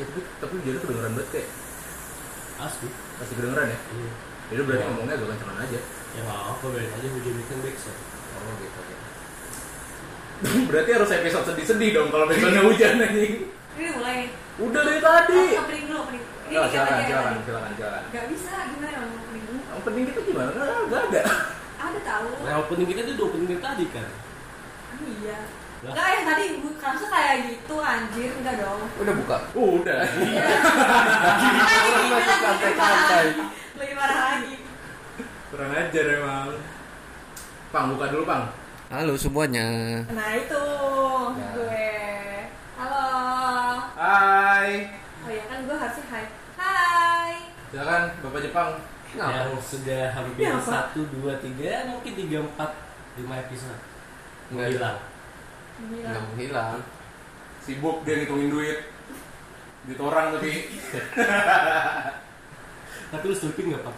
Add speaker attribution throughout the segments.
Speaker 1: Eh, jadi kedengeran banget kayak
Speaker 2: asli
Speaker 1: pasti kedengeran ya
Speaker 2: iya
Speaker 1: jadi berarti
Speaker 2: Iya.
Speaker 1: ngomongnya agak kencangan aja
Speaker 2: ya nggak apa biarin aja hujan itu backsound
Speaker 1: oh gitu oke berarti harus episode sedih-sedih dong kalau misalnya hujan anjing
Speaker 3: Ini mulai nih.
Speaker 1: udah dari tadi
Speaker 3: Opening dulu, opening. Ini
Speaker 1: oh,
Speaker 3: dikit
Speaker 1: Iya. silakan
Speaker 3: aja.
Speaker 1: silakan silakan silakan
Speaker 3: Gak bisa, gimana dong opening dulu?
Speaker 1: opening kita gimana nggak nggak ada
Speaker 3: Ada tahu.
Speaker 2: nah opening kita tuh udah opening dari tadi kan
Speaker 3: Iya.
Speaker 2: Lah.
Speaker 3: Enggak yang tadi gue kerasa kayak gitu anjir, enggak dong.
Speaker 4: Udah buka.
Speaker 1: udah
Speaker 3: Lagi
Speaker 4: masih
Speaker 3: marah lagi,
Speaker 4: santai-santai.
Speaker 3: Lagi marah lagi.
Speaker 1: kurang ajar emang pang buka dulu pang
Speaker 4: Halo semuanya.
Speaker 3: Nah itu
Speaker 4: Ya.
Speaker 3: gue. Halo.
Speaker 1: hai
Speaker 3: Oh ya kan gue harusnya hai. Hai.
Speaker 1: silakan bapak Jepang
Speaker 2: yang sudah hampir
Speaker 3: Kenapa?
Speaker 2: satu dua tiga ya, mungkin tiga empat lima episode
Speaker 4: Nggak.
Speaker 2: hilang
Speaker 3: Gila.
Speaker 4: Nggak menghilang.
Speaker 1: sibuk dia ngitungin duit duit orang tapi
Speaker 2: tapi lu slipin nggak pak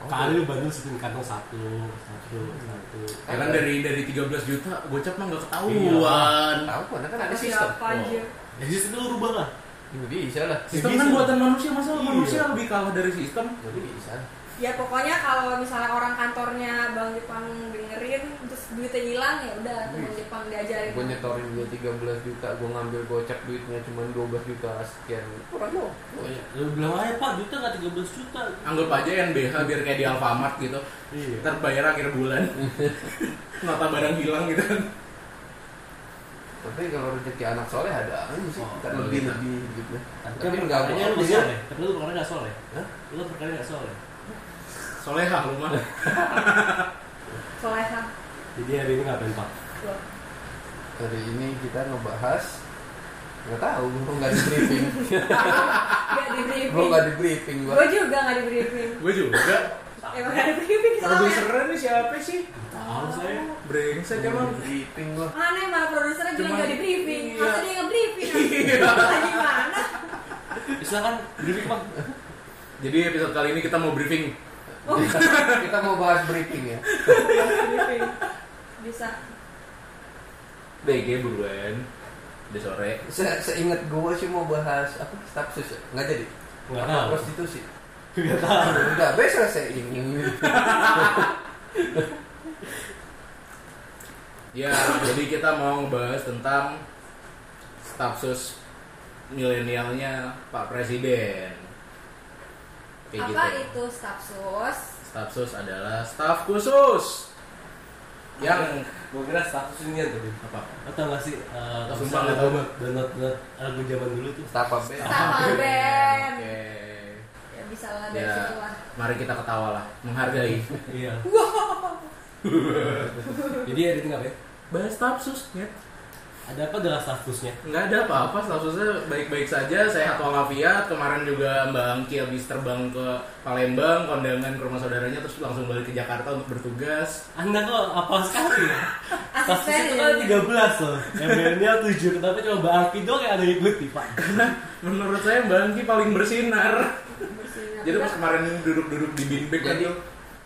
Speaker 4: Oh,
Speaker 2: kali lu bandel slipin kantong satu satu satu
Speaker 1: ya kan dari dari 13 juta gocap mah nggak ketahuan
Speaker 2: Iya.
Speaker 4: Tahu kan kan ada
Speaker 3: Masih
Speaker 4: sistem.
Speaker 3: apa anjir?
Speaker 2: jadi sistem lu rubah lah
Speaker 4: Ya, bisa lah.
Speaker 1: sistem
Speaker 2: Ya,
Speaker 1: kan
Speaker 2: bisa.
Speaker 1: buatan manusia masa
Speaker 2: Iya.
Speaker 1: manusia lebih kalah dari sistem
Speaker 4: Ya, bisa.
Speaker 3: Ya pokoknya kalau misalnya orang kantornya Bang Jepang dengerin terus duitnya hilang ya udah tuh Bang Jepang diajarin.
Speaker 4: Gue nyetorin dia 13 juta, gue ngambil gocap duitnya cuma 12 juta sekian. Kurang dong.
Speaker 2: Oh, lu bilang aja pak duitnya nggak tiga belas juta
Speaker 1: anggap aja NBH biar kayak di Alfamart gitu
Speaker 2: iya
Speaker 1: ntar bayar akhir bulan nota barang hilang gitu kan
Speaker 4: Tapi kalau rezeki anak soleh ada aja sih.
Speaker 2: Oh,
Speaker 4: Kan
Speaker 1: boleh.
Speaker 4: lebih lebih gitu.
Speaker 2: tapi
Speaker 4: Tapi
Speaker 2: kan
Speaker 4: nggak
Speaker 2: perkaranya
Speaker 4: mau
Speaker 2: lu
Speaker 4: aku
Speaker 2: nggak soleh tapi lu perkara
Speaker 4: ya.
Speaker 2: nggak soleh
Speaker 4: Hah?
Speaker 2: lu perkara nggak ya? soleh
Speaker 1: solehah lu mah
Speaker 3: Soleha.
Speaker 2: jadi hari ini ngapain pak
Speaker 3: Loh,
Speaker 4: Hari ini kita ngebahas nggak tahu, gue nggak di briefing.
Speaker 1: Ah,
Speaker 3: Gak di
Speaker 4: gue
Speaker 3: briefing.
Speaker 4: nggak di briefing gue.
Speaker 3: Gue juga gak di briefing.
Speaker 1: gue juga
Speaker 3: Emang gak di briefing soalnya.
Speaker 1: produsernya nih siapa sih
Speaker 2: tahu saya
Speaker 1: brengsek emang
Speaker 4: briefing gue.
Speaker 3: Aneh malah produsernya bilang
Speaker 1: Cuman-
Speaker 3: gak di briefing.
Speaker 1: Iya.
Speaker 3: Masa dia nge-briefing? Lagi mana?
Speaker 2: silakan briefing pak
Speaker 1: jadi episode kali ini kita mau briefing
Speaker 3: Oh,
Speaker 4: kita mau bahas briefing ya.
Speaker 3: briefing. Bisa.
Speaker 1: BG buruan udah sore
Speaker 4: Se Seingat gue sih mau bahas apa staff sus ya? nggak jadi.
Speaker 2: nggak
Speaker 4: Apa,
Speaker 2: tahu
Speaker 4: Prostitusi.
Speaker 2: nggak tahu
Speaker 4: Udah habis selesai ini.
Speaker 1: ya jadi kita mau ngebahas tentang stafsus milenialnya Pak Presiden kayak
Speaker 3: Apa
Speaker 1: gitu
Speaker 3: itu staff sus?
Speaker 1: stafsus adalah staf khusus yang
Speaker 2: gue kira status ini tuh
Speaker 1: apa
Speaker 2: Lo tau gak sih, eh,
Speaker 1: Sumpah
Speaker 2: bisa
Speaker 1: nggak tahu, Bang.
Speaker 2: download download lagu zaman dulu tuh
Speaker 4: Staff apa?
Speaker 3: Staff band.
Speaker 1: Ah, iya. Oke.
Speaker 3: Ya bisa lah dari
Speaker 1: ya
Speaker 3: situ lah.
Speaker 1: mari kita ketawa lah menghargai
Speaker 2: Iya
Speaker 3: Wow.
Speaker 2: Jadi hari ini ngapain?
Speaker 1: bahas stafsus ya
Speaker 2: Ada apa dengan statusnya?
Speaker 1: Nggak ada apa-apa, statusnya baik-baik saja, sehat walafiat. Kemarin juga Mbak Angki habis terbang ke Palembang, kondangan ke rumah saudaranya, terus langsung balik ke Jakarta untuk bertugas.
Speaker 2: Anda kok apa sekali ya? Status
Speaker 3: Asisten
Speaker 2: itu
Speaker 3: ya.
Speaker 2: kan 13 loh MBL-nya 7, kenapa cuma Mbak Aki doang yang ada yang ikuti Pak?
Speaker 1: Menurut saya Mbak Angki paling bersinar.
Speaker 3: Bersinar.
Speaker 1: Jadi pas kemarin duduk-duduk di binbek kan
Speaker 4: Jadi,
Speaker 1: tuh,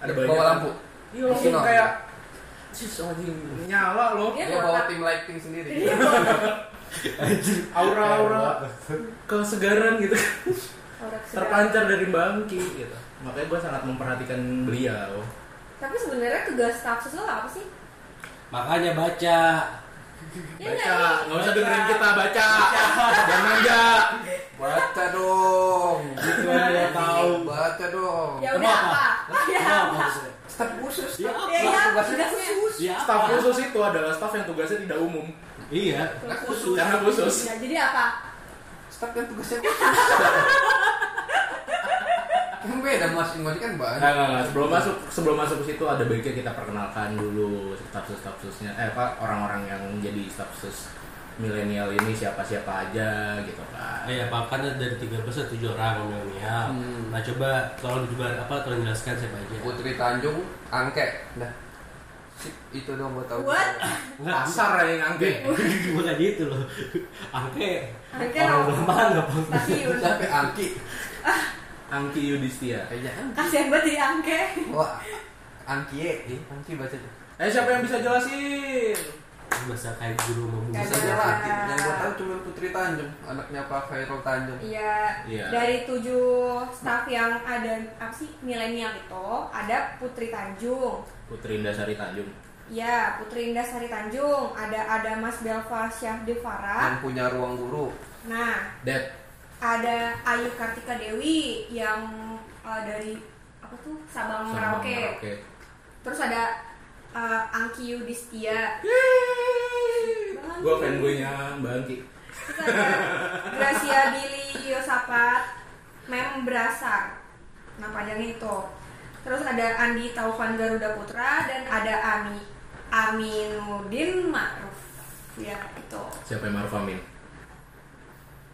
Speaker 1: ada
Speaker 4: Bawa
Speaker 1: banyak.
Speaker 4: lampu.
Speaker 1: Iya, langsung
Speaker 4: Bersinar.
Speaker 1: kayak, sis anjing, nyala loh.
Speaker 3: Iya,
Speaker 4: Dia
Speaker 3: bawa
Speaker 4: bawa
Speaker 3: lampu.
Speaker 4: tim lighting sendiri.
Speaker 3: Iya.
Speaker 2: Anjir
Speaker 1: Aura-aura kesegaran gitu,
Speaker 3: Orang sedang.
Speaker 1: terpancar dari Mbak Angki gitu. Makanya gue sangat memperhatikan beliau.
Speaker 3: Tapi sebenarnya tugas staff sus lo apa sih?
Speaker 2: Makanya baca
Speaker 3: Ya nggak,
Speaker 1: Baca, nggak usah
Speaker 2: Baca.
Speaker 1: dengerin kita baca. Jangan manja.
Speaker 4: Baca dong.
Speaker 2: Gitu aja tahu
Speaker 4: Baca dong.
Speaker 3: Ya udah
Speaker 2: Kenapa?
Speaker 3: apa? Ya
Speaker 2: Kenapa
Speaker 3: apa?
Speaker 2: maksudnya?
Speaker 4: Staff khusus.
Speaker 2: Ya
Speaker 4: staff-
Speaker 3: Ya ya,
Speaker 4: staff tugasnya
Speaker 3: tugasnya.
Speaker 4: khusus.
Speaker 2: Ya
Speaker 1: Staf
Speaker 2: apa?
Speaker 1: khusus itu adalah staf yang tugasnya tidak umum.
Speaker 2: Iya
Speaker 4: Nah, khusus.
Speaker 1: Karena khusus.
Speaker 3: Ya, jadi apa?
Speaker 4: Staff yang tugasnya khusus. Kan beda mas, ngoji kan
Speaker 1: Nah,
Speaker 4: banyak.
Speaker 1: nah, nah, sebelum masuk sebelum masuk ke situ ada baiknya kita perkenalkan dulu stafsus stafsusnya eh pak orang-orang yang jadi stafsus milenial ini siapa siapa aja gitu kan.
Speaker 2: Ah, Ya, Pak, kan dari 13 ada 7 orang milenial.
Speaker 4: Hmm.
Speaker 2: Nah, coba tolong juga apa tolong jelaskan siapa aja.
Speaker 4: Putri Tanjung, angke. Dah. Sip, itu dong gue tahu.
Speaker 3: What?
Speaker 2: Enggak,
Speaker 1: Pasar yang angke.
Speaker 2: bukan gitu loh angke
Speaker 3: Angke
Speaker 2: orang
Speaker 3: apa?
Speaker 2: Brahman nggak apa
Speaker 3: Stasiun.
Speaker 4: Sampai angki. Eh, iya kan?
Speaker 1: Angki Yudhistia.
Speaker 4: Kayaknya angki.
Speaker 3: Kasihan banget jadi angke.
Speaker 4: Wah, angkie. Ih, eh, Angki baca deh.
Speaker 1: Eh siapa yang bisa jelasin?
Speaker 2: masa kayak guru sama
Speaker 3: Kayak
Speaker 2: busa
Speaker 4: Bisa
Speaker 3: Ada-
Speaker 4: laki. Yang gue tahu cuma Putri Tanjung, anaknya Pak Khairul Tanjung.
Speaker 3: Iya.
Speaker 1: Iya.
Speaker 3: Dari tujuh staff yang ada apa sih milenial itu ada Putri Tanjung,
Speaker 1: Putri Indah Sari Tanjung
Speaker 3: ya Putri Indah Sari Tanjung, ada ada Mas Belva Syah
Speaker 4: Yang
Speaker 3: Devara.
Speaker 4: punya ruang guru.
Speaker 3: Nah,
Speaker 1: Dad
Speaker 3: ada Ayu Kartika Dewi yang eh, dari apa tuh Sabang
Speaker 1: sama
Speaker 3: Merauke.
Speaker 1: Merauke.
Speaker 3: Terus ada eh, Angki Yudhistia.
Speaker 1: Gue fanboynya Mbak Angki
Speaker 3: Terus ada Gracia Billy Yosapat, Mem Brasar. Nah panjangnya itu. Terus ada Andi Taufan Garuda Putra dan ada Ami Aminuddin Ma'ruf. Ya itu.
Speaker 1: Siapa yang Maruf Amin?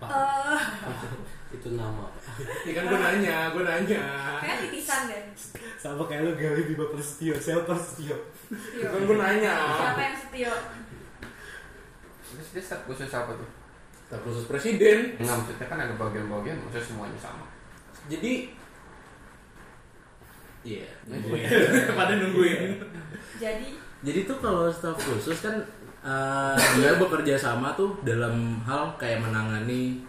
Speaker 2: Pak,
Speaker 3: Eh,
Speaker 2: itu nama
Speaker 1: Ya kan gue nanya, gue nanya
Speaker 3: kayak titisan deh.
Speaker 2: sama kayak lu gawe Bima Prasetyo saya Prasetyo
Speaker 1: Ya
Speaker 3: Setio.
Speaker 1: kan gue nanya
Speaker 3: Siapa yang Setio?
Speaker 4: Terus dia staf khusus apa tuh?
Speaker 1: Staf khusus presiden
Speaker 4: Enggak, maksudnya kan ada bagian-bagian, maksudnya semuanya sama.
Speaker 1: Jadi Iya, nungguin. pada nungguin.
Speaker 3: Jadi
Speaker 1: Jadi tuh kalau staf khusus kan eh, dia bekerja sama tuh dalam hal kayak menangani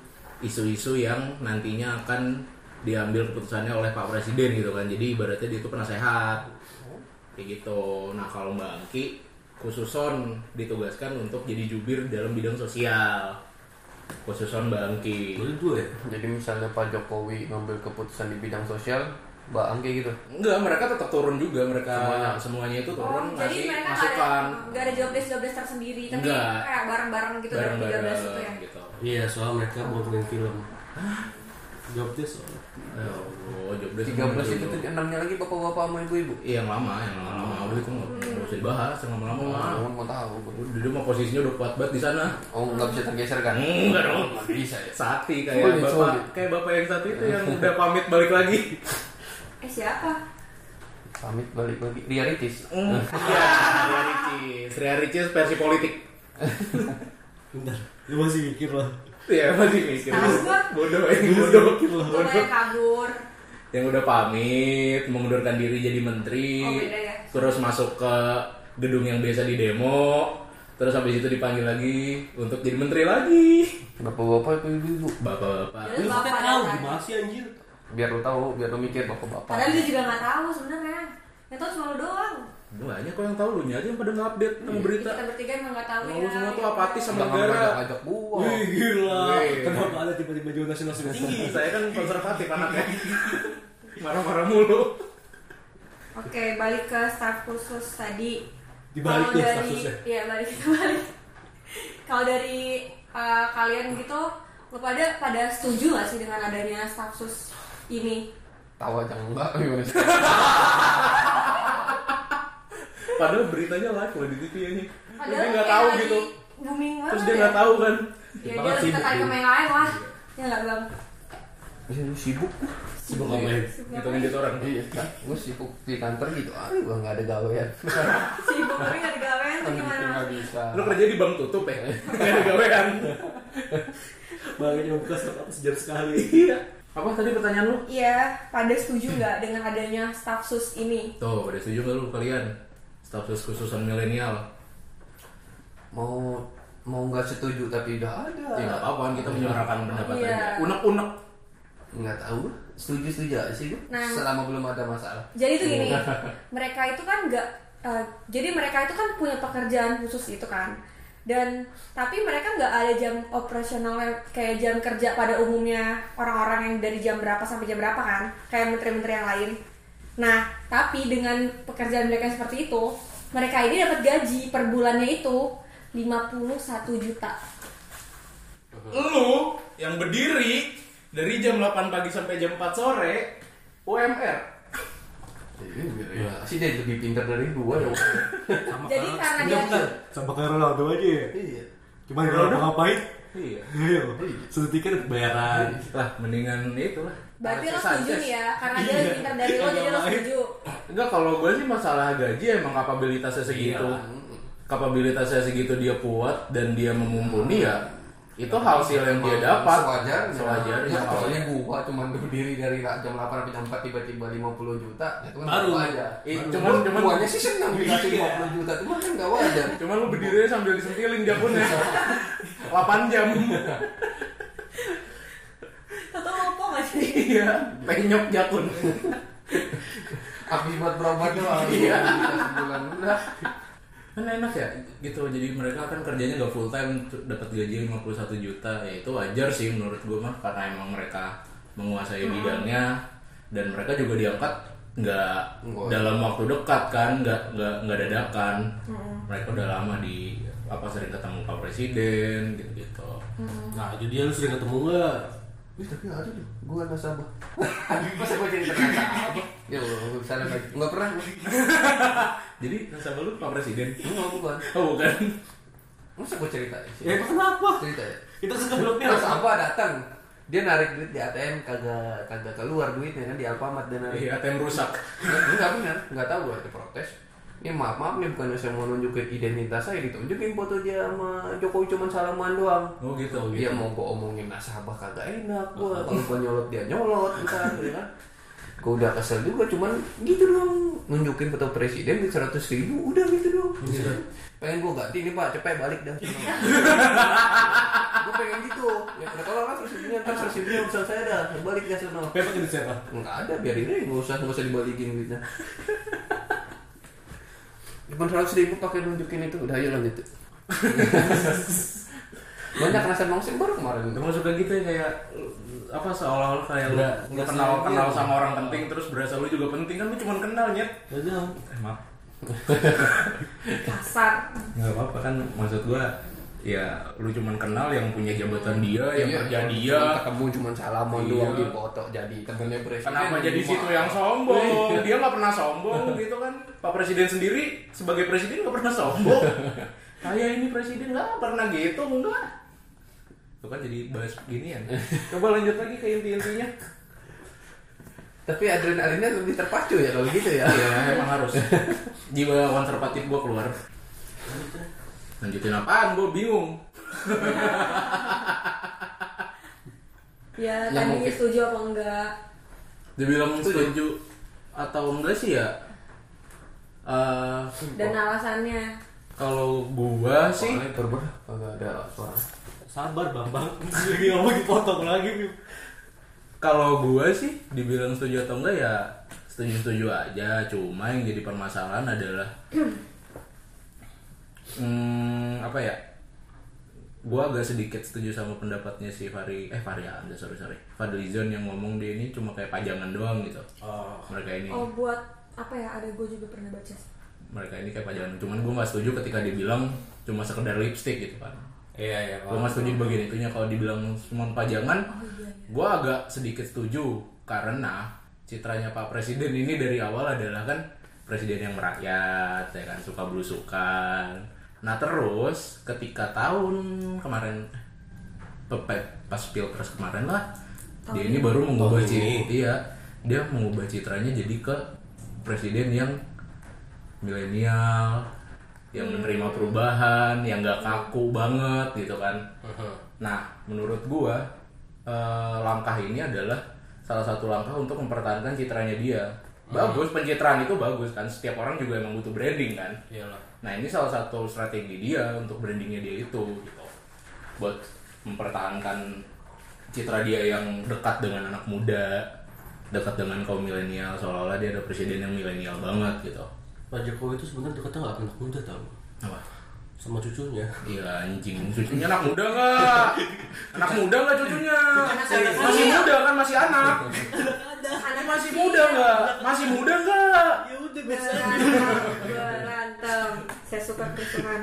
Speaker 1: isu-isu yang nantinya akan diambil keputusannya oleh Pak Presiden gitu kan. Jadi ibaratnya dia itu penasehat. Kayak gitu. Nah, kalau Mbak Angki khususon ditugaskan untuk jadi jubir dalam bidang sosial. Khususon Mbak Angki.
Speaker 2: boleh dua ya
Speaker 4: Jadi misalnya Pak Jokowi ngambil keputusan di bidang sosial, Mbak Angki gitu.
Speaker 1: Enggak, mereka tetap turun juga mereka
Speaker 4: Semuanya.
Speaker 1: semuanya, itu
Speaker 3: Oh,
Speaker 1: turun
Speaker 3: jadi
Speaker 1: ngasih
Speaker 3: mereka nggak ada gitu
Speaker 1: masukan
Speaker 3: nggak ada job desk job desk tersendiri, tapi
Speaker 1: Nggak.
Speaker 3: kayak bareng-bareng gitu dari tiga
Speaker 1: bareng-bareng
Speaker 3: itu ya.
Speaker 1: gitu.
Speaker 2: iya soal mereka mau bikin film jobnya soal
Speaker 1: Oh, jobdesk
Speaker 4: 13 itu
Speaker 1: dulu.
Speaker 4: tuh, enamnya lagi bapak-bapak sama ibu-ibu.
Speaker 1: Iya, yang lama, yang lama-lama udah itu nggak nggak usah dibahas, yang lama-lama mah.
Speaker 4: Oh, mau tahu. gua.
Speaker 1: Udah dia mah posisinya udah kuat banget di sana.
Speaker 4: Oh, nggak bisa tergeser kan?
Speaker 1: Enggak dong.
Speaker 4: Nggak bisa ya.
Speaker 1: Sati kayak
Speaker 4: Solid,
Speaker 1: bapak,
Speaker 4: solid.
Speaker 1: kayak bapak yang satu itu yang udah pamit balik lagi.
Speaker 3: Eh siapa?
Speaker 4: Pamit balik lagi. Ria Ricis.
Speaker 1: Iya, Ria Ricis, Ria Ricis versi politik.
Speaker 2: bentar lu masih mikir lah
Speaker 1: Iya, masih mikir.
Speaker 3: Tahu gua.
Speaker 1: Bodoh, ini bodoh.
Speaker 3: Gue yang kabur.
Speaker 1: Yang udah pamit, mengundurkan diri jadi menteri,
Speaker 3: Oh, beda ya.
Speaker 1: terus masuk ke gedung yang biasa di demo, terus habis itu dipanggil lagi untuk jadi menteri lagi.
Speaker 4: Bapak-bapak itu ibu-ibu.
Speaker 1: Bapak-bapak.
Speaker 2: lu
Speaker 3: Bapak
Speaker 2: kita tahu gitu.
Speaker 3: datang.
Speaker 2: gimana sih anjir
Speaker 4: Biar lu tahu, biar lu mikir bapak-bapak.
Speaker 3: Padahal dia juga nggak tahu sebenarnya. Yang tahu cuma lu doang.
Speaker 1: Gue banyak kok yang tahu lu nya aja yang pada nggak update sama berita.
Speaker 3: Iya, Kita bertiga emang nggak tahu.
Speaker 1: Nah, Lu
Speaker 3: ya.
Speaker 1: semua tuh apatis sama
Speaker 4: Jangan
Speaker 1: negara.
Speaker 4: ngajak-ngajak gua.
Speaker 2: Wih gila,
Speaker 1: Wih.
Speaker 2: kenapa ada tiba-tiba jonasi langsung tinggi?
Speaker 1: Saya kan konservatif anaknya. Marah-marah mulu.
Speaker 3: Oke, balik ke staff khusus tadi.
Speaker 2: Dibalik
Speaker 3: Kalau
Speaker 2: tuh
Speaker 3: dari-
Speaker 2: staff khususnya.
Speaker 3: Iya, balik balik. Kalau dari eh, kalian gitu, lu pada pada setuju gak sih dengan adanya staff khusus ini?
Speaker 4: Tahu aja enggak. gimana sih?
Speaker 1: Padahal beritanya live loh di TV nya. Terus dia
Speaker 3: Padahal
Speaker 1: nggak
Speaker 3: kayak
Speaker 1: tahu
Speaker 3: lagi
Speaker 1: gitu.
Speaker 3: Booming banget.
Speaker 1: Terus dia
Speaker 3: ya.
Speaker 1: nggak tahu kan.
Speaker 3: Ya, dia
Speaker 2: Banget
Speaker 3: lebih
Speaker 2: sibuk
Speaker 3: tertarik
Speaker 2: dia.
Speaker 3: sama yang lain lah. Ya nggak bang.
Speaker 4: Ya, lu sibuk.
Speaker 2: Sibuk ngapain?
Speaker 3: Sibuk
Speaker 1: Gitu
Speaker 3: apa?
Speaker 1: kan dia orang.
Speaker 4: Iya, kan? Gue sibuk di kantor gitu. Ah, gua nggak ada gawean.
Speaker 3: Sibuk tapi nggak digawean tuh gimana?
Speaker 4: Nggak bisa.
Speaker 1: Lu kerja di bank tutup ya? Gak ada gawean.
Speaker 2: Bangnya cuma buka setiap sejam sekali.
Speaker 1: Iya. Apa tadi pertanyaan lu?
Speaker 3: Iya, pada setuju nggak dengan adanya staff sus ini?
Speaker 1: Tuh, udah setuju gak lu kalian? Status khususan milenial.
Speaker 4: mau mau nggak setuju tapi udah ada
Speaker 1: Ya nggak apa-apa kan kita menyuarakan pendapat
Speaker 3: Iya.
Speaker 1: aja. Unek-unek.
Speaker 4: nggak tahu setuju setuju aja sih gue
Speaker 3: Nah.
Speaker 4: selama belum ada masalah
Speaker 3: Jadi tuh gini, mereka itu kan nggak, eh, jadi mereka itu kan punya pekerjaan khusus itu kan, dan tapi mereka nggak ada jam operasional yang- kayak jam kerja pada umumnya orang-orang yang dari jam berapa sampai jam berapa kan, kayak menteri-menteri yang lain. Nah, tapi dengan pekerjaan mereka seperti itu, mereka ini dapat gaji per bulannya itu 51 juta.
Speaker 1: Lu yang berdiri dari jam 8 pagi sampai jam 4 sore UMR. Iya,
Speaker 4: ya. sih dia lebih pintar dari gua ya
Speaker 2: Sama eh,
Speaker 3: Jadi
Speaker 2: kayak-
Speaker 3: karena
Speaker 2: Enggak,
Speaker 3: dia-
Speaker 2: bentar. sama kayak Ronaldo aja ya.
Speaker 4: iya
Speaker 2: Cuman kalau mau ngapain?
Speaker 1: Iya.
Speaker 2: Ayo, satu tiket dapat bayaran.
Speaker 1: Lah, mendingan itu lah.
Speaker 3: Berarti lo
Speaker 1: Alexis
Speaker 3: setuju
Speaker 1: Sanchez.
Speaker 3: nih ya, karena dia lebih pintar dari lo
Speaker 2: Iya,
Speaker 3: jadi lo
Speaker 2: nggak
Speaker 3: setuju.
Speaker 1: Enggak, kalau gue sih masalah gaji emang Iya. kapabilitasnya segitu. Kapabilitasnya segitu dia kuat dan dia memumpuni ya itu hasil yang dia dapat
Speaker 4: sewajarnya
Speaker 1: Iya, Hmm. sewajarnya Iya.
Speaker 4: ya,
Speaker 1: kalau
Speaker 4: kalau gua cuma berdiri dari jam 8 sampai jam 4 tiba-tiba 50 juta itu kan
Speaker 2: Baru.
Speaker 4: nggak wajar
Speaker 1: Eh,
Speaker 4: Baru.
Speaker 1: cuman-
Speaker 4: Gua-
Speaker 1: cuman-
Speaker 4: guanya sih senang gitu
Speaker 2: Iya.
Speaker 4: 50 juta cuman kan nggak wajar
Speaker 1: cuma lu berdiri sambil disentilin japunnya 8 jam
Speaker 3: Atau ngopong aja sih?
Speaker 1: iya penyok jakun
Speaker 4: habis buat berobat doang
Speaker 1: Iya.
Speaker 4: Kita sebulan udah
Speaker 1: kan enak ya gitu jadi mereka kan kerjanya nggak full time tu- dapat gaji 51 juta ya itu wajar sih menurut gue mah karena emang mereka menguasai
Speaker 4: Hmm.
Speaker 1: bidangnya dan mereka juga diangkat nggak
Speaker 4: Nggak.
Speaker 1: dalam waktu dekat kan nggak nggak nggak dadakan
Speaker 4: Hmm.
Speaker 1: mereka udah lama di apa sering ketemu pak presiden gitu gitu
Speaker 4: Hmm.
Speaker 2: Nah, jadi dia lu sering ketemu nggak?
Speaker 4: Wih, tapi ada deh, gua nasabah Aduh, masa gua jadi nasabah? Ya Allah, gua bisa lagi Nggak pernah
Speaker 1: jadi nasabah lu pak presiden
Speaker 4: Enggak, bukan
Speaker 1: oh bukan
Speaker 4: Masa gua cerita sih?
Speaker 2: Ya itu kenapa?
Speaker 4: Cerita ya?
Speaker 2: Itu sebelumnya
Speaker 4: Terus Alfa datang, dia narik duit di ATM kagak kagak keluar duitnya kan di Alfamart dia narik.
Speaker 1: iya ATM rusak
Speaker 4: Enggak benar, enggak tahu gua ada protes. Ini maaf maaf nih bukan saya mau nunjukin identitas saya ditunjukin foto dia sama Jokowi cuman salaman doang.
Speaker 1: oh gitu
Speaker 4: Dia Iya, mau gua omongin nasabah kagak enak gua kalau gua nyolot dia nyolot entar gitu kan. Gua udah kesel juga cuman gitu doang nunjukin foto presiden di 100 ribu udah gitu doang. Pengen gua ganti nih Pak, cepet balik dah. gue pengen gitu ya udah tolong lah tersidinya ntar tersidinya urusan saya dah balik ke sana
Speaker 2: Pepet itu siapa?
Speaker 4: nggak ada biarin aja nggak usah nggak usah dibalikin duitnya Cuman seratus ribu pakai nunjukin itu udah ayo lanjut banyak rasa nongsi baru kemarin
Speaker 1: Termasuk kayak gitu ya kayak apa seolah-olah kayak lu
Speaker 2: Nggak-
Speaker 1: nggak
Speaker 2: nggak
Speaker 1: kenal
Speaker 2: sengaja.
Speaker 1: kenal sama orang penting terus berasa lu juga penting kan lu cuma kenal nyet.
Speaker 2: Ada.
Speaker 1: Eh maaf.
Speaker 3: Kasar.
Speaker 1: Enggak apa-apa kan maksud gua ya lu cuma kenal yang punya jabatan dia, yang
Speaker 4: Iya,
Speaker 1: kerja
Speaker 4: cuman
Speaker 1: dia.
Speaker 4: ketemu cuma salaman
Speaker 1: Iya.
Speaker 4: doang di foto jadi temennya presiden
Speaker 1: Kenapa jadi
Speaker 4: Cuma-
Speaker 1: situ yang sombong? Iya, Dia nggak pernah sombong gitu kan. Pak Presiden sendiri sebagai presiden nggak pernah sombong. Kayak ini presiden nggak pernah gitu enggak. Itu kan jadi bahas gini ya. Coba lanjut lagi ke inti-intinya.
Speaker 4: tapi adrenalinnya lebih terpacu ya kalau gitu ya
Speaker 1: Ya emang harus. Jiwa konservatif gua keluar. Lanjutin apaan? Gua bingung.
Speaker 3: Ya,
Speaker 4: Yang
Speaker 3: tadinya
Speaker 4: mungkin.
Speaker 3: Ya, setuju apa enggak?
Speaker 1: Dia bilang
Speaker 4: Setuju.
Speaker 1: setuju atau enggak sih ya? Eh,
Speaker 3: Dan alasannya.
Speaker 1: kalau gua sih
Speaker 4: Soalnya berber kagak ada suara
Speaker 2: Sabar Bambang. Lagi ngomong dipotong lagi. Bim.
Speaker 1: kalau gua sih dibilang setuju atau enggak ya setuju-setuju aja. Cuma yang jadi permasalahan adalah hmm, apa ya? Gua agak sedikit setuju sama pendapatnya si Fahri eh Fahri Hamzah sorry sorry Fadlizon yang ngomong dia ini cuma kayak pajangan doang gitu
Speaker 2: Oh.
Speaker 1: mereka ini
Speaker 3: Oh, buat apa ya? Ada gue juga pernah baca.
Speaker 1: mereka ini kayak pajangan cuman gue nggak setuju ketika dibilang cuma sekedar lipstick gitu kan
Speaker 2: Iya iya.
Speaker 1: gue nggak setuju bagian itunya kalau dibilang cuma pajangan
Speaker 3: Oh iya. iya.
Speaker 1: gue agak sedikit setuju karena citranya Pak Presiden ini dari awal adalah kan presiden yang merakyat ya kan suka belusukan nah terus ketika tahun kemarin pe- pas pilpres kemarin lah dia ini baru mengubah
Speaker 2: Tahun ini.
Speaker 1: citra iya dia mengubah citranya jadi ke presiden yang milenial yang menerima perubahan yang gak kaku banget gitu kan Nah, menurut gua eh, langkah ini adalah salah satu langkah untuk mempertahankan citranya dia. Bagus, pencitraan itu bagus kan. Setiap orang juga emang butuh branding kan.
Speaker 2: Iyalah.
Speaker 1: Nah, ini salah satu strategi dia untuk brandingnya dia itu gitu. Buat mempertahankan citra dia yang dekat dengan anak muda, dekat dengan kaum milenial seolah-olah dia ada presiden yang milenial banget gitu.
Speaker 2: Pak Jokowi itu sebenarnya dekatnya nggak anak muda tau
Speaker 1: Apa?
Speaker 2: sama cucunya.
Speaker 1: Iya anjing, cucunya anak muda nggak? Anak muda nggak cucunya? Masih muda kan masih anak?
Speaker 3: Anak
Speaker 1: Masih muda
Speaker 3: Iya.
Speaker 1: nggak? Masih muda nggak?
Speaker 2: Ya udah
Speaker 3: Berantem, berantem. Saya suka kerusuhan.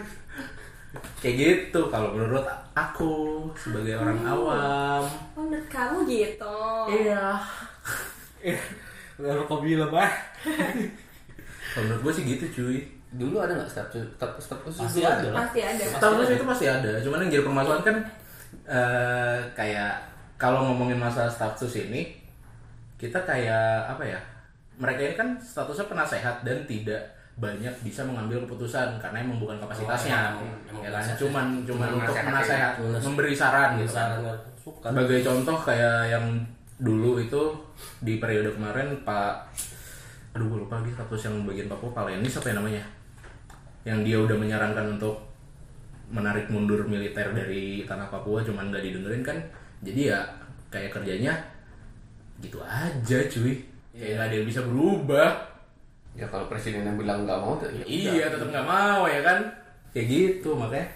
Speaker 1: Kayak gitu kalau menurut aku sebagai orang awam.
Speaker 3: Oh, menurut kamu gitu.
Speaker 1: Iya.
Speaker 2: Eh, Lalu kau bilang bah.
Speaker 1: Kalau menurut gue sih gitu cuy.
Speaker 4: dulu ada nggak step step step khusus
Speaker 2: Pasti
Speaker 4: dulu
Speaker 2: ada lah.
Speaker 3: Pasti ada.
Speaker 1: Tahu sih itu pasti ada. Cuman yang jadi permasalahan kan eh, kayak kalau ngomongin masalah status ini kita kayak apa ya? Mereka ini kan statusnya penasehat dan tidak banyak bisa mengambil keputusan karena emang bukan kapasitasnya.
Speaker 5: Oh, emang- emang
Speaker 1: Ya kan?
Speaker 5: kapasitas.
Speaker 1: cuman cuman
Speaker 4: Cuman
Speaker 1: untuk
Speaker 4: nasehat ya.
Speaker 1: menasehat,
Speaker 5: Menas-
Speaker 1: memberi saran
Speaker 5: Iya,
Speaker 1: gitu kan.
Speaker 5: Saran nggak suka.
Speaker 1: Sebagai contoh kayak yang dulu itu di periode kemarin Pak aduh gue lupa lagi status yang bagian Papua Palenis apa ya namanya yang dia udah menyarankan untuk menarik mundur militer dari tanah Papua cuman gak didengerin kan jadi ya kayak kerjanya gitu aja cuy kayak gak ada yang bisa berubah
Speaker 4: ya kalau presidennya bilang nggak mau tuh ya
Speaker 1: iya tetap nggak mau ya kan kayak gitu makanya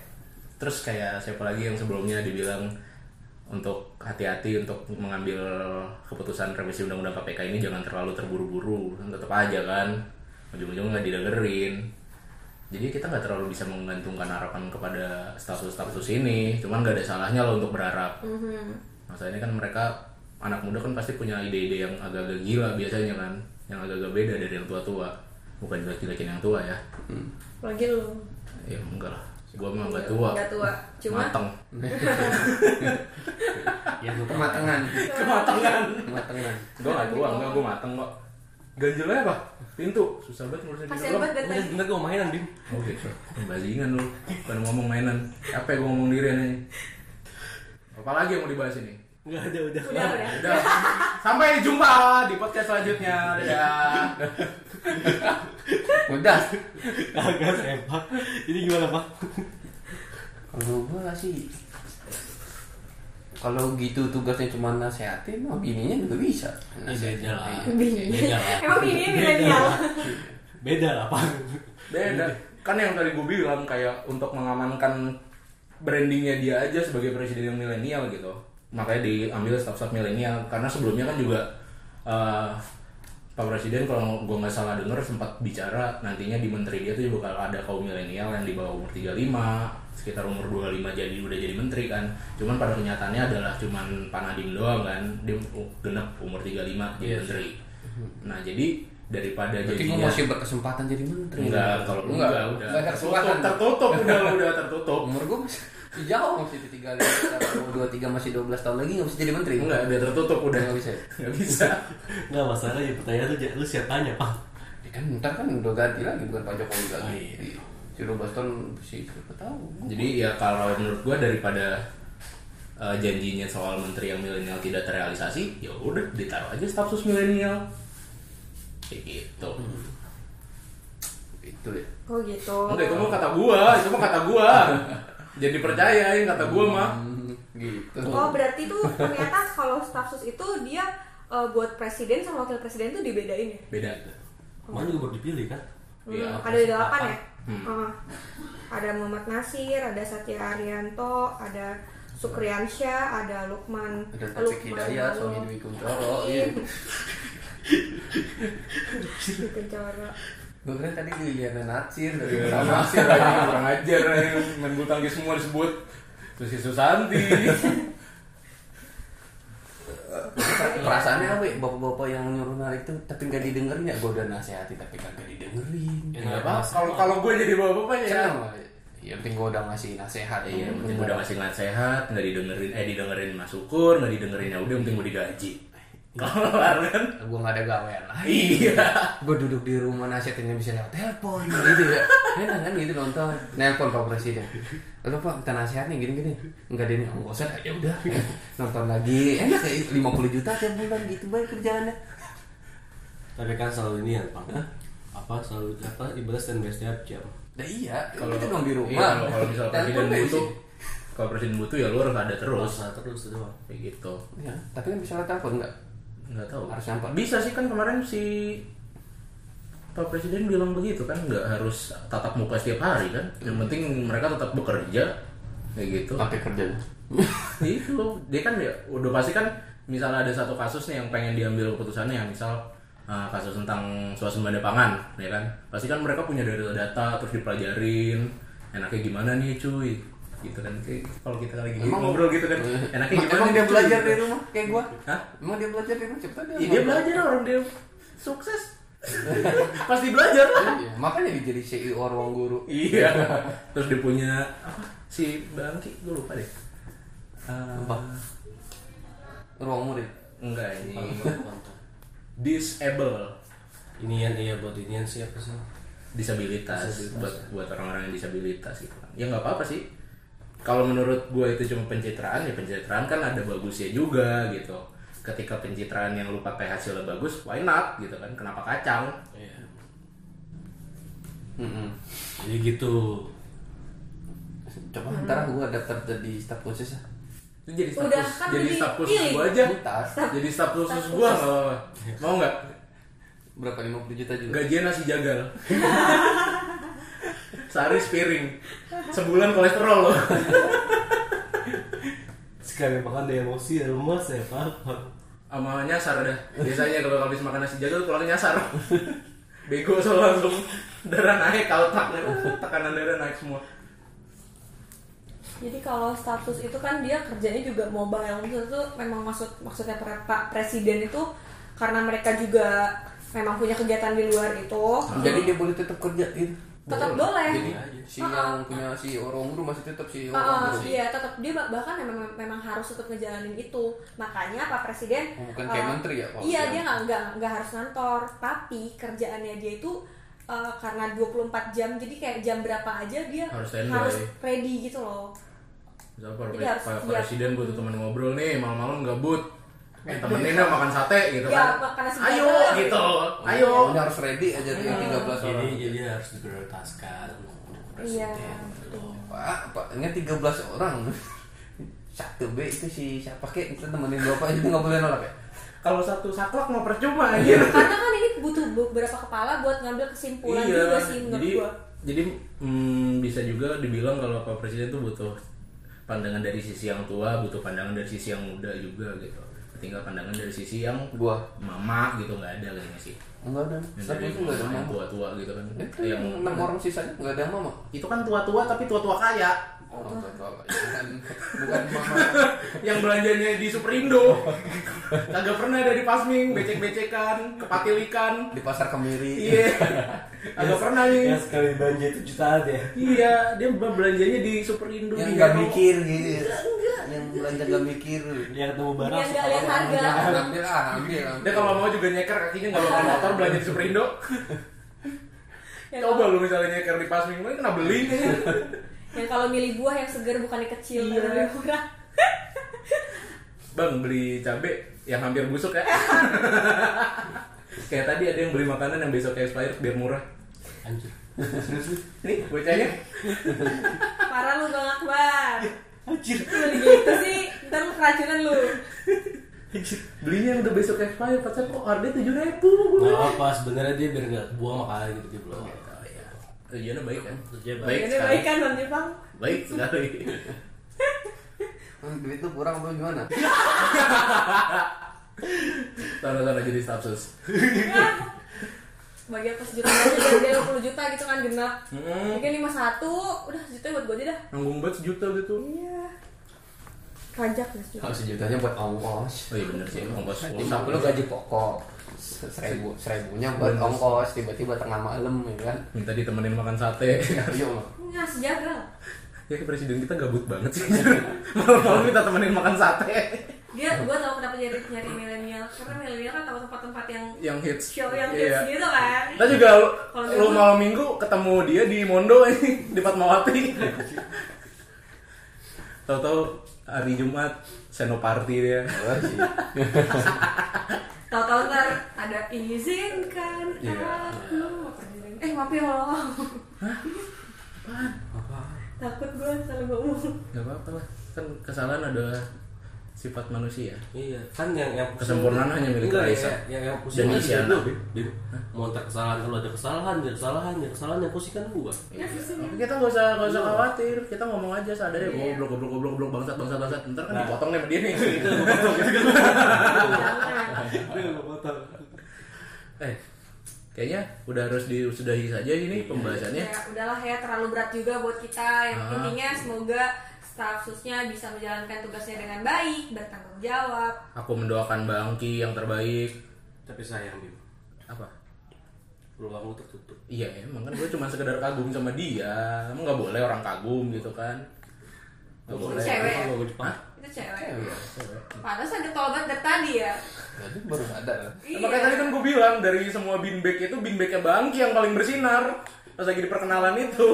Speaker 1: terus kayak siapa lagi yang sebelumnya dibilang untuk hati-hati untuk mengambil keputusan revisi undang-undang KPK ini jangan terlalu terburu-buru kan tetap aja kan ujung-ujungnya nggak didengerin jadi kita nggak terlalu bisa menggantungkan harapan kepada status-status ini cuman nggak ada salahnya loh untuk berharap masalahnya kan mereka anak muda kan pasti punya ide-ide yang agak-agak gila biasanya kan yang agak-agak beda dari yang tua-tua bukan jelek-jelekin yang tua ya
Speaker 3: Lagi lu
Speaker 1: ya enggak lah gua mah nggak tua
Speaker 3: Nggak tua. Cuma-
Speaker 1: mateng
Speaker 2: Ya gue
Speaker 4: kematangan
Speaker 1: kematangan
Speaker 4: kematangan
Speaker 1: gua nggak tua enggak gua mateng kok ganjelnya apa pintu susah banget ngurusin pintu
Speaker 3: Kasian banget
Speaker 1: doang.
Speaker 3: dari tadi.
Speaker 5: Bener gue mainan Bim
Speaker 1: oke bazingan lu bukan ngomong mainan apa ya gua ngomong diri nih apalagi yang mau dibahas ini
Speaker 2: Enggak ada udah.
Speaker 3: Udah udah.
Speaker 1: Udah. sampai jumpa di podcast selanjutnya dadah
Speaker 4: udah
Speaker 2: Agak sepak. Ini gimana pak?
Speaker 4: kalau gua sih kalau gitu tugasnya cuma nasehatin mah bininya juga bisa
Speaker 5: Ya
Speaker 1: Iya.
Speaker 5: beda lah
Speaker 3: Bini.
Speaker 5: Beda lah
Speaker 3: Emang bini milenial.
Speaker 2: Beda lah pak.
Speaker 1: beda kan yang tadi gue bilang kayak untuk mengamankan brandingnya dia aja sebagai presiden yang milenial gitu makanya diambil staff-staff milenial karena sebelumnya kan juga eh, pak presiden kalau gue nggak salah denger sempat bicara nantinya di menteri dia tuh juga bakal ada kaum milenial yang di bawah umur 35 sekitar umur 25 jadi udah jadi menteri kan cuman pada kenyataannya adalah cuman panadim doang kan dia genep umur 35 jadi menteri nah jadi daripada
Speaker 4: Mm-hmm. berarti gua
Speaker 1: jadinya-
Speaker 4: masih berkesempatan jadi menteri
Speaker 1: Iya. Enggak, kalau Iya. enggak,
Speaker 4: enggak
Speaker 1: udah
Speaker 4: enggak ada
Speaker 1: tertutup,
Speaker 4: kesempatan
Speaker 1: tertutup udah udah tertutup.
Speaker 4: umur gua masih masih jauh masih tiga dua tiga masih 12 tahun lagi nggak bisa jadi menteri
Speaker 1: Enggak, udah tertutup udah.
Speaker 4: Nggak bisa.
Speaker 1: Enggak bisa.
Speaker 2: Enggak masalah ya pertanyaan tuh lu siap tanya pak.
Speaker 4: Ya kan ntar kan udah ganti lagi bukan Pak Jokowi lagi.
Speaker 1: Ah,
Speaker 2: Oh, iya.
Speaker 4: Si 12 tahun si siapa tahu.
Speaker 1: Jadi ya kalau menurut gua daripada eh, janjinya soal menteri yang milenial tidak terrealisasi, ya udah ditaruh aja status milenial. Kayak gitu.
Speaker 4: Itu ya.
Speaker 3: Oh gitu.
Speaker 1: Enggak, itu mah kata gua, itu mah kata gua. Jadi percayain kata gua mah.
Speaker 4: Hmm, gitu.
Speaker 3: Oh berarti tuh ternyata kalau staff sus itu dia eh, buat presiden sama wakil presiden tuh dibedain ya?
Speaker 1: Beda.
Speaker 2: Mana juga baru dipilih kan?
Speaker 3: Hmm,
Speaker 1: Iya,
Speaker 3: ada
Speaker 2: versi
Speaker 3: delapan ya?
Speaker 1: Hmm.
Speaker 3: Oh. ada Muhammad Nasir, ada Satya Arianto, ada Sukriansyah, ada Lukman,
Speaker 4: Ada Taufik Hidayat, Sony Dwi Kuncoro, iya.
Speaker 3: Dwi Kuncoro.
Speaker 4: Gue keren tadi gue Yana Natsir dari
Speaker 1: Sama
Speaker 4: sama.
Speaker 1: sih orang kurang ajar eh. main bulu tangkis semua disebut. Susi Susanti.
Speaker 4: Perasaannya apa ya? Bapak-bapak yang nyuruh narik tuh tapi nggak didengerin ya. Gue udah nasihati tapi kagak didengerin.
Speaker 1: Ya, apa? Kalau kalau gue jadi bapak-bapak ya.
Speaker 4: Kenapa? Ya penting gue udah ngasih nasehat.
Speaker 1: Iya, yang penting gue udah ngasih nasihat, nggak didengerin, eh didengerin mas syukur, nggak didengerin ya udah, yang penting gue digaji. Kelar kan?
Speaker 4: Gue nggak ada gawean lah.
Speaker 1: Iya.
Speaker 4: gue duduk di rumah nasihatin nggak bisa lewat telepon gitu ya enak kan gitu nonton nelpon pak presiden lalu pak minta nasihat nih gini gini nggak ada nih oh, nggak usah ya udah nonton lagi enak ya 50 juta tiap bulan gitu baik kerjaannya
Speaker 2: Tapi kan selalu ini ya pak. Apa selalu apa ibadah stand by setiap jam.
Speaker 4: nah iya kalau kita dong di rumah
Speaker 1: Iya, kalau- kalau misal presiden
Speaker 4: nggak
Speaker 1: butuh,
Speaker 4: isi.
Speaker 1: kalau presiden butuh ya lu harus ada terus.
Speaker 2: Masa Nah, terus itu Pak.
Speaker 1: Kayak gitu.
Speaker 4: ya, tapi kan bisa lewat telepon nggak
Speaker 1: Nggak tahu.
Speaker 4: Harus nyamper.
Speaker 1: Bisa sih kan kemarin si Pak Presiden bilang begitu kan nggak harus tatap muka setiap hari kan. Yang penting mereka tetap bekerja kayak gitu.
Speaker 4: pakai kerjanya
Speaker 1: itu dia kan ya udah pasti kan misalnya ada satu kasus nih yang pengen diambil keputusannya yang misal uh, kasus tentang suasembada pangan ya kan pasti kan mereka punya data-data terus dipelajarin enaknya gimana nih cuy gitu kan Kayak kalau kita lagi
Speaker 4: Emang-
Speaker 1: ngobrol gitu kan enaknya gimana
Speaker 4: Iya. emang
Speaker 1: nih,
Speaker 4: dia
Speaker 1: cuy?
Speaker 4: belajar di rumah kayak gua
Speaker 1: Hah?
Speaker 4: emang dia belajar di rumah cepet Iya. dia
Speaker 1: Iya, dia belajar orang dia sukses pasti belajar lah
Speaker 4: Iya, makanya dia jadi CEO ruang guru
Speaker 1: iya terus dia punya apa si bangki gue lupa deh Eh,
Speaker 4: Apa? ruang murid
Speaker 1: enggak ini
Speaker 2: Kalau nggak, bukan, Pak.
Speaker 1: disable
Speaker 2: Ini yang iya buat ini yang siapa sih?
Speaker 1: disabilitas,
Speaker 2: Disabilitas,
Speaker 1: buat buat orang-orang yang disabilitas gitu kan. Ya nggak apa-apa sih. Kalau menurut gua itu cuma pencitraan ya pencitraan kan ada bagusnya juga gitu. Ketika pencitraan yang lu pakai hasilnya bagus, why not gitu kan? Kenapa kacang?
Speaker 5: Iya.
Speaker 4: Mm-mm.
Speaker 5: Jadi gitu.
Speaker 4: Coba ntar gue daftar jadi staf khusus ya.
Speaker 1: Itu jadi staff
Speaker 3: Udah,
Speaker 1: khusus-
Speaker 3: kan
Speaker 1: jadi
Speaker 3: udah
Speaker 1: staff khusus
Speaker 3: dipilih.
Speaker 1: gua aja.
Speaker 4: Butas.
Speaker 1: Jadi staff khusus
Speaker 3: Staff
Speaker 1: gua
Speaker 3: khusus.
Speaker 1: nggak apa-apa. Mau nggak?
Speaker 4: Berapa 50 juta juga?
Speaker 1: Gajian nasi jagal. Sehari sepiring. Sebulan kolesterol loh.
Speaker 5: Sekali makan dia emosi dan lemas ya apa?
Speaker 1: sama nyasar dah biasanya kalau habis makan nasi jagung tulangnya nyasar bego soalnya langsung darah naik kalau tekanan darah naik semua
Speaker 3: Jadi kalau status itu kan dia kerjanya juga mobile. Maksudnya itu memang maksud maksudnya pre- Pak Presiden itu karena mereka juga memang punya kegiatan di luar itu.
Speaker 4: Jadi dia boleh tetap kerja gitu.
Speaker 3: Tetap boleh.
Speaker 4: Jadi si
Speaker 3: Ah,
Speaker 4: yang punya si orang guru masih tetap
Speaker 3: Uh,
Speaker 4: si orang
Speaker 3: uh,
Speaker 4: guru.
Speaker 3: iya tetap dia bah- bahkan memang, memang harus tetap ngejalanin itu makanya pak presiden
Speaker 4: Oh, bukan kayak
Speaker 3: uh,
Speaker 4: menteri ya, Pak?
Speaker 3: iya
Speaker 4: Iya.
Speaker 3: dia nggak nggak nggak harus ngantor tapi kerjaannya dia itu uh, karena 24 jam jadi kayak jam berapa aja dia
Speaker 1: Harus standby.
Speaker 3: harus ready gitu loh
Speaker 1: Misal Pak
Speaker 3: Iya,
Speaker 1: Pak
Speaker 3: iya.
Speaker 1: Presiden butuh teman ngobrol nih malam-malam gabut eh, temenin dong makan sate gitu
Speaker 3: Iya,
Speaker 1: kan
Speaker 3: makan nasi
Speaker 1: ayo
Speaker 3: jagal.
Speaker 1: gitu ayo
Speaker 4: Ayo, ini harus ready aja dengan 13 orang.
Speaker 5: Jadi jadi harus diprioritaskan untuk
Speaker 3: iya
Speaker 5: presiden.
Speaker 3: betul.
Speaker 4: Pak, Pak, ini 13 orang. Satu B itu si siapa kek kita temenin bapak itu nggak boleh nolak ya.
Speaker 1: kalau satu saklek mau percuma gitu. aja
Speaker 3: karena kan ini butuh beberapa kepala buat ngambil kesimpulan juga sih
Speaker 1: Iya,
Speaker 3: menurut
Speaker 1: jadi
Speaker 3: gua
Speaker 1: jadi mm, bisa juga dibilang kalau Pak Presiden tuh butuh pandangan dari sisi yang tua butuh pandangan dari sisi yang muda juga gitu tinggal pandangan dari sisi yang
Speaker 4: Gua
Speaker 1: mama gitu nggak ada kayaknya sih
Speaker 4: enggak ada.
Speaker 1: Yang
Speaker 4: Satu
Speaker 1: dari
Speaker 4: itu Iya. nggak ada
Speaker 1: yang
Speaker 4: mama.
Speaker 1: tua-tua gitu kan
Speaker 4: Itu
Speaker 1: yang
Speaker 4: yang enam orang sisanya nggak ada mama.
Speaker 1: itu kan tua-tua tapi tua-tua kaya
Speaker 4: Oh, enggak, enggak, enggak. bukan bukan mama.
Speaker 1: yang belanjanya di Superindo kagak pernah ada di Pasming becek-becekan kepatilikan
Speaker 4: Di pasar Kemiri.
Speaker 1: iya kagak pernah
Speaker 5: Ya
Speaker 1: nih
Speaker 5: sekali belanja itu jutaan ya.
Speaker 1: iya dia belanjanya di Superindo Iya. di
Speaker 4: Yang nggak
Speaker 1: Depok.
Speaker 4: mikir gitu. Yang belanja nggak mikir.
Speaker 5: Dia ketemu barang.
Speaker 3: Yang Iya, nggak lihat
Speaker 5: sekarang.
Speaker 3: harga.
Speaker 4: Ya, Ambil ah, ambil. ambil.
Speaker 1: dia kalau mau juga nyeker kakinya nggak bakal motor belanja di Superindo
Speaker 3: Ya,
Speaker 1: coba lu misalnya nyeker di Pasming mungkin kena beli kayaknya
Speaker 3: yang kalau milih buah yang segar bukan yang kecil
Speaker 1: Iya.
Speaker 3: karena lebih murah
Speaker 1: Bang beli cabe yang hampir busuk ya. kayak tadi ada yang beli makanan yang besok expired biar murah.
Speaker 5: Anjir.
Speaker 1: Nih bocahnya.
Speaker 3: parah lu bang Akbar
Speaker 5: Anjir.
Speaker 3: lu gitu sih ntar lu keracunan lu
Speaker 1: Belinya yang udah besok expired, pacar kok harganya tujuh ribu.
Speaker 5: Gak
Speaker 2: Oh.
Speaker 5: apa sebenarnya dia biar nggak buang makanan gitu dia belum.
Speaker 1: Tujuannya baik kan?
Speaker 5: Tujuannya baik.
Speaker 1: baik
Speaker 3: ini
Speaker 1: sekali.
Speaker 3: baik kan bang Jepang
Speaker 1: Baik sekali.
Speaker 4: Hmm, duit lu kurang lu gimana?
Speaker 1: Tanda-tanda jadi stafsus.
Speaker 3: bagi aku sejuta aja biar dia 20 juta gitu kan genap
Speaker 1: Hmm.
Speaker 3: mungkin 51 udah sejuta buat gue aja dah
Speaker 1: Nanggung banget sejuta gitu.
Speaker 3: iya pajak ya sejuta
Speaker 4: Kalau sejutanya buat ongkos.
Speaker 1: Oh iya bener sih, ongkos
Speaker 4: lima
Speaker 1: pulsa.
Speaker 4: puluh gaji pokok seribu seribunya buat ongkos tiba-tiba tengah malam ya kan Ya, iya,
Speaker 1: Minta ditemenin makan sate.
Speaker 4: ayo
Speaker 3: ini nasi jagal
Speaker 1: ya presiden kita gabut banget sih. Malam-malam kita temenin makan sate.
Speaker 3: dia gue tau kenapa nyari nyari milenial karena milenial kan tahu tempat-tempat yang
Speaker 1: yang hits.
Speaker 3: show yang
Speaker 1: Iya.
Speaker 3: hits gitu kan
Speaker 1: Kita juga lu-
Speaker 3: Kalau
Speaker 1: lu
Speaker 3: minggu-
Speaker 1: malam minggu ketemu dia di Mondo ini di Fatmawati. Tahu-tahu hari Jumat senoparty dia.
Speaker 3: tahu-tahu ntar ada izinkan
Speaker 1: Iya.
Speaker 3: aku pergi. eh maaf ya Allah takut gue salah ngomong
Speaker 1: Gak apa-apa lah. Kan kesalahan adalah sifat manusia.
Speaker 5: Iya, kan yang yang pusing-
Speaker 1: Kesempurnaan hanya milik
Speaker 5: Enggak,
Speaker 1: Raisa.
Speaker 5: ya, yang yang pusing
Speaker 1: Dan
Speaker 5: kan
Speaker 1: Isyana.
Speaker 5: lu, Bim. Bim. Mau ntar kesalahan lu ada kesalahan, ada kesalahan, ada kesalahan yang pusing kan gua.
Speaker 1: Iya. Tapi kita gak usah gak
Speaker 3: Iya.
Speaker 1: usah khawatir, kita ngomong aja sadarnya goblok goblok goblok goblok bangsat bangsat bangsat. Ntar
Speaker 3: Nah.
Speaker 1: kan dipotong nih sama dia nih.
Speaker 3: Iya. jangan
Speaker 1: eh, kayaknya udah harus diusudahi saja ini pembahasannya.
Speaker 3: Ya, udahlah ya terlalu berat juga buat kita. Yang
Speaker 1: Ah.
Speaker 3: intinya semoga staf susnya bisa menjalankan tugasnya dengan baik, bertanggung jawab.
Speaker 1: Aku mendoakan Bang Ki yang terbaik.
Speaker 5: Tapi sayang, Bim.
Speaker 1: Apa?
Speaker 5: Peluang lu tertutup.
Speaker 1: Iya emang kan gue cuma sekedar kagum sama dia Emang gak boleh orang kagum gitu kan Gak boleh
Speaker 3: Cewek.
Speaker 5: Kalau gua Jepang.
Speaker 3: Itu cewek. Panas ada tobat dari tadi ya. Iya.
Speaker 4: jadi baru sadar
Speaker 1: Makanya tadi kan gue bilang dari semua beanbag itu beanbagnya Bangki yang paling bersinar pas lagi di perkenalan itu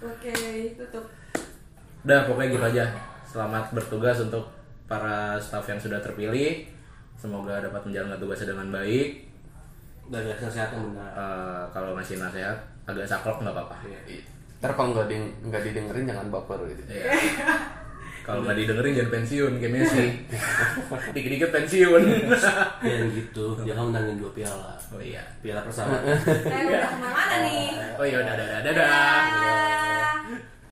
Speaker 3: Oke, tutup.
Speaker 1: udah pokoknya gitu aja selamat bertugas untuk para staff yang sudah terpilih semoga dapat menjalankan tugasnya dengan baik
Speaker 5: Dan gak kesehatan benar.
Speaker 1: Eh, kalau ngasih nasihat agak saklek nggak apa-apa
Speaker 4: Ntar kalau nggak di, nggak didengerin jangan baper gitu.
Speaker 1: Iya. kalau nggak didengerin jangan pensiun kayak Messi dikit-dikit pensiun
Speaker 5: Jangan gitu, jangan menangin dua piala.
Speaker 1: oh iya
Speaker 5: Piala persahabatan.
Speaker 3: Saya udah kemana-mana nih.
Speaker 1: oh iya dadah dadah dadah
Speaker 3: Bye.